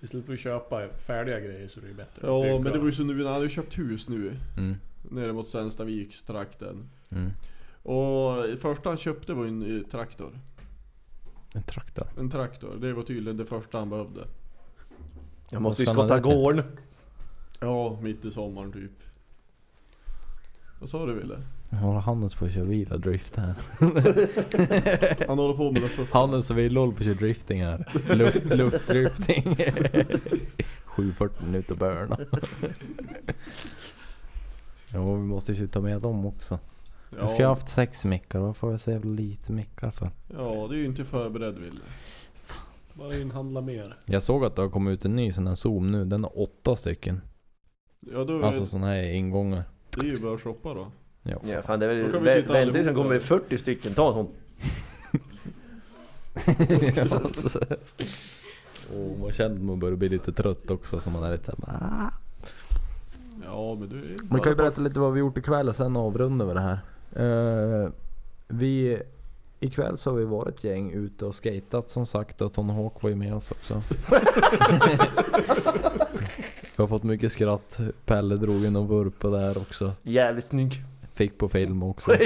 [SPEAKER 5] Istället för att köpa färdiga grejer så är det ju bättre.
[SPEAKER 2] Ja,
[SPEAKER 5] Det är
[SPEAKER 2] men det
[SPEAKER 5] bra.
[SPEAKER 2] var ju så nu, han hade ju köpt hus nu.
[SPEAKER 4] mm.
[SPEAKER 2] Nere mot Sänstavikstrakten.
[SPEAKER 4] Mm.
[SPEAKER 2] Och det första han köpte var ju en eh, traktor.
[SPEAKER 4] En traktor.
[SPEAKER 2] En traktor, det var tydligen det första han behövde.
[SPEAKER 3] Jag måste ju
[SPEAKER 4] Vad ska
[SPEAKER 3] skotta
[SPEAKER 4] man ha det till?
[SPEAKER 3] gården.
[SPEAKER 2] Ja, mitt i sommaren typ. Vad sa du Wille?
[SPEAKER 4] Håller typ- Hannes på att köra bil och drifta här?
[SPEAKER 2] Han håller på med det för
[SPEAKER 4] Hannes och vi LOL på att köra drifting här. Luft, luftdrifting. 7.40 minuter på öarna. Jo, vi måste ju ta med dem också. Jag skulle ha haft sex mickar, varför får jag så jävla lite mickar för?
[SPEAKER 2] Ja, du är ju inte förberedd Wille.
[SPEAKER 5] Bara inhandla mer.
[SPEAKER 4] Jag såg att det har kommit ut en ny sån här zoom nu, den har åtta stycken.
[SPEAKER 2] Ja, då är
[SPEAKER 3] Mm.
[SPEAKER 4] Alltså såna här ingångar.
[SPEAKER 2] det är ju bara att shoppa då.
[SPEAKER 4] Ja.
[SPEAKER 3] Ja, fan, det är
[SPEAKER 2] Då
[SPEAKER 3] väl
[SPEAKER 2] kan vi sitta
[SPEAKER 3] Wendy som
[SPEAKER 2] allihopa.
[SPEAKER 3] kommer med 40 stycken, ta en sån.
[SPEAKER 4] Ja, alltså. Och man känner att man börjar bli lite trött också så man är lite såhär ah.
[SPEAKER 2] Ja, men du är
[SPEAKER 4] Man kan
[SPEAKER 2] bara-
[SPEAKER 4] ju berätta lite vad vi gjort ikväll och sen avrunda med det här. Eh, vi, ikväll så har vi varit ett gäng ute och skatat som sagt och Tony Hawk var ju med oss också. vi har fått mycket skratt. Pelle drog ju någon vurpa där också.
[SPEAKER 3] Jävligt snygg.
[SPEAKER 4] Fick på film också.
[SPEAKER 2] Ja,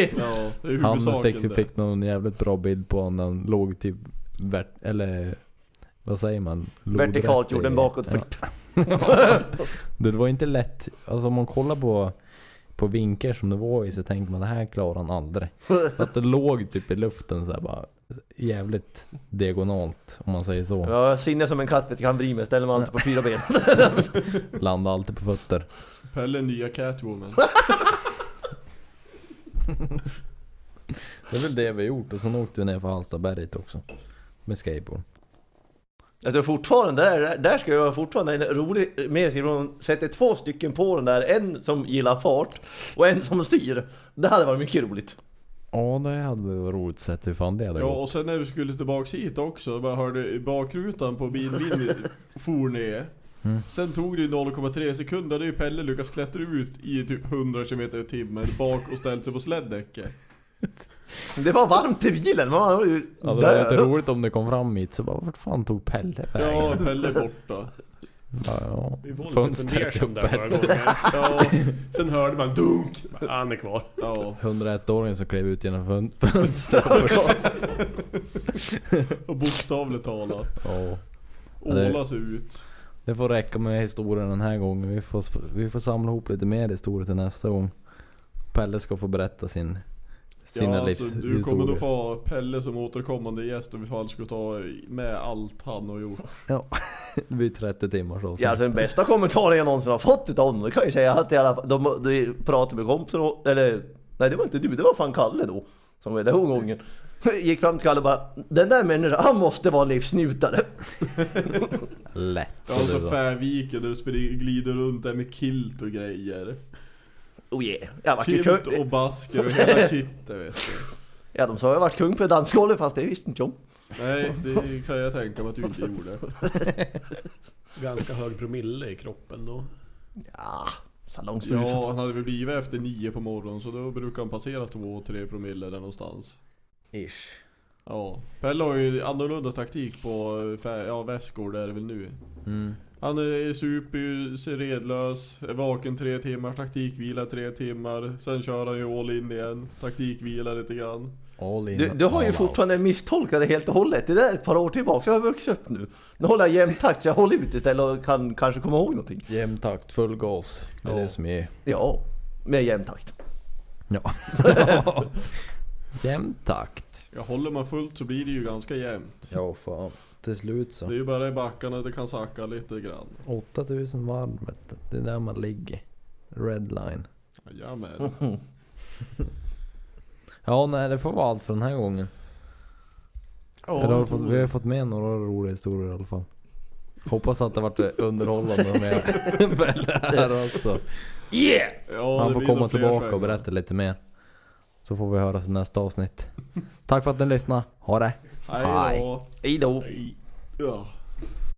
[SPEAKER 2] det är
[SPEAKER 4] Hannes
[SPEAKER 2] huvudsaken
[SPEAKER 4] fick,
[SPEAKER 2] där.
[SPEAKER 4] fick någon jävligt bra bild på honom. Han låg typ vert, eller vad säger man? Lodrätt
[SPEAKER 3] Vertikalt
[SPEAKER 4] i-
[SPEAKER 3] gjorde en
[SPEAKER 4] Ja.
[SPEAKER 3] bakåtflipp.
[SPEAKER 4] Det var inte lätt. Alltså om man kollar på, på vinklar som det var i så tänkte man det här klarar han aldrig. För att det låg typ i luften så här bara jävligt diagonalt om man säger så.
[SPEAKER 3] Ja, sinne som en katt vet du, kan vri mig, ställer mig alltid på fyra ben.
[SPEAKER 4] Landade alltid på fötter.
[SPEAKER 2] Pelle nya Catwoman.
[SPEAKER 4] Det är väl det vi har gjort och sen åkte vi ner för Hallstaberget också. Med skateboard.
[SPEAKER 3] Alltså fortfarande, där, där ska det vara fortfarande en rolig medskrivning. Hon sätter två stycken på den där, en som gillar fart och en som styr. Det hade varit mycket roligt.
[SPEAKER 4] Ja det hade varit roligt sett hur fan det hade
[SPEAKER 2] Ja
[SPEAKER 4] gått.
[SPEAKER 2] och sen när vi skulle tillbaks hit också, jag bara hörde i bakrutan på bilen min for ner.
[SPEAKER 4] Mm.
[SPEAKER 2] Sen tog det ju 0,3 sekunder, det är ju Pelle lyckas klättra ut i typ 100 km i timmen bak och ställt sig på släddäcket.
[SPEAKER 3] Det var varmt i bilen, man var ju
[SPEAKER 4] Ja, Alltså, det var
[SPEAKER 3] död.
[SPEAKER 4] lite roligt om det kom fram hit så bara vart fan tog Pelle vägen?
[SPEAKER 2] Ja, Pelle är borta.
[SPEAKER 4] Bara,
[SPEAKER 5] Vi
[SPEAKER 4] ja.
[SPEAKER 5] var lite
[SPEAKER 4] Fönstret
[SPEAKER 5] fundersam där
[SPEAKER 4] uppe.
[SPEAKER 5] några gånger.
[SPEAKER 2] Ja,
[SPEAKER 5] Sen hörde man dunk! Bara, Han är kvar.
[SPEAKER 2] ja.
[SPEAKER 4] 101-åringen som klev ut genom fön- fönstret. först.
[SPEAKER 2] Och bokstavligt talat.
[SPEAKER 4] Ja.
[SPEAKER 2] Ålas ut.
[SPEAKER 4] Det får räcka med historien den här gången. Vi får, sp- vi får samla ihop lite mer historier till nästa gång. Pelle ska få berätta sin, sina
[SPEAKER 2] Ja, alltså,
[SPEAKER 4] livs
[SPEAKER 2] du kommer
[SPEAKER 4] historier.
[SPEAKER 2] nog få ha Pelle som återkommande gäst om vi fall skulle ta med allt han har gjort.
[SPEAKER 4] Det blir 30 timmars avsnitt.
[SPEAKER 3] Ja, alltså den bästa kommentaren jag någonsin har fått utav honom, det kan jag ju säga att i alla fall, de, de pratade med kompisen och, eller nej det var inte du, det var fan Kalle då. Som var där gången. Gick fram till Kalle och bara Den där människan, han måste vara livsnjutare.
[SPEAKER 4] Lätt.
[SPEAKER 2] Ja,
[SPEAKER 4] sa
[SPEAKER 2] alltså
[SPEAKER 4] du då.
[SPEAKER 2] Färviken där du springer- glider runt där med kilt och grejer.
[SPEAKER 3] Oh yeah. Jag vart ju
[SPEAKER 2] Kilt
[SPEAKER 3] kung.
[SPEAKER 2] och basker och hela kittet vet du.
[SPEAKER 3] Ja de sa jag varit kung på dansgolvet fast det visste inte jag.
[SPEAKER 2] Nej, det kan jag tänka mig att du inte gjorde.
[SPEAKER 5] Ganska hög promille i kroppen då.
[SPEAKER 3] Ja, salongsbruset.
[SPEAKER 2] Ja, han hade väl blivit efter nio på morgonen så då brukar han passera två, tre promille där någonstans.
[SPEAKER 4] Ish.
[SPEAKER 2] Ja, Pelle har ju annorlunda taktik på fä- ja, väskor, det är det väl nu.
[SPEAKER 4] Mm.
[SPEAKER 2] Han är super, ju, ser redlös, är vaken tre timmar, taktikvila tre timmar. Sen kör han ju all in igen, taktikvila lite grann.
[SPEAKER 4] All in,
[SPEAKER 3] Du, du har ju
[SPEAKER 4] all out.
[SPEAKER 3] fortfarande misstolkat det helt och hållet. Det där är ett par år tillbaka, så jag har vuxit upp nu. Nu håller jag jämn takt så jag håller ut istället och kan kanske komma ihåg någonting.
[SPEAKER 4] Jämn takt, full gas. Det är
[SPEAKER 2] Ja.
[SPEAKER 4] det som är...
[SPEAKER 3] Ja, med jämn takt.
[SPEAKER 4] Ja. Jämn takt.
[SPEAKER 2] Ja, håller man fullt så blir det ju ganska jämnt.
[SPEAKER 4] Ja fan. Till slut
[SPEAKER 2] Det är
[SPEAKER 4] så.
[SPEAKER 2] ju bara i backarna det kan sacka lite grann.
[SPEAKER 4] 8000 varv vet du. Det är där man ligger. Redline.
[SPEAKER 2] Jajamän.
[SPEAKER 4] Ja nej det får vara allt för den här gången.
[SPEAKER 2] Ja,
[SPEAKER 4] Eller har
[SPEAKER 2] jag
[SPEAKER 4] vi, fått,
[SPEAKER 2] tror
[SPEAKER 4] vi har
[SPEAKER 2] det.
[SPEAKER 4] fått med några roliga historier i alla fall. Hoppas att det varit underhållande med Pelle här också.
[SPEAKER 3] Yeah!
[SPEAKER 2] Ja, det
[SPEAKER 4] Han får
[SPEAKER 2] blir
[SPEAKER 4] komma
[SPEAKER 2] nog fler
[SPEAKER 4] tillbaka och
[SPEAKER 2] svängar.
[SPEAKER 4] berätta lite mer. Så får vi höras i nästa avsnitt. Tack för att ni lyssnade. Ha det!
[SPEAKER 2] Hej då.
[SPEAKER 3] Hej då!
[SPEAKER 2] Ja.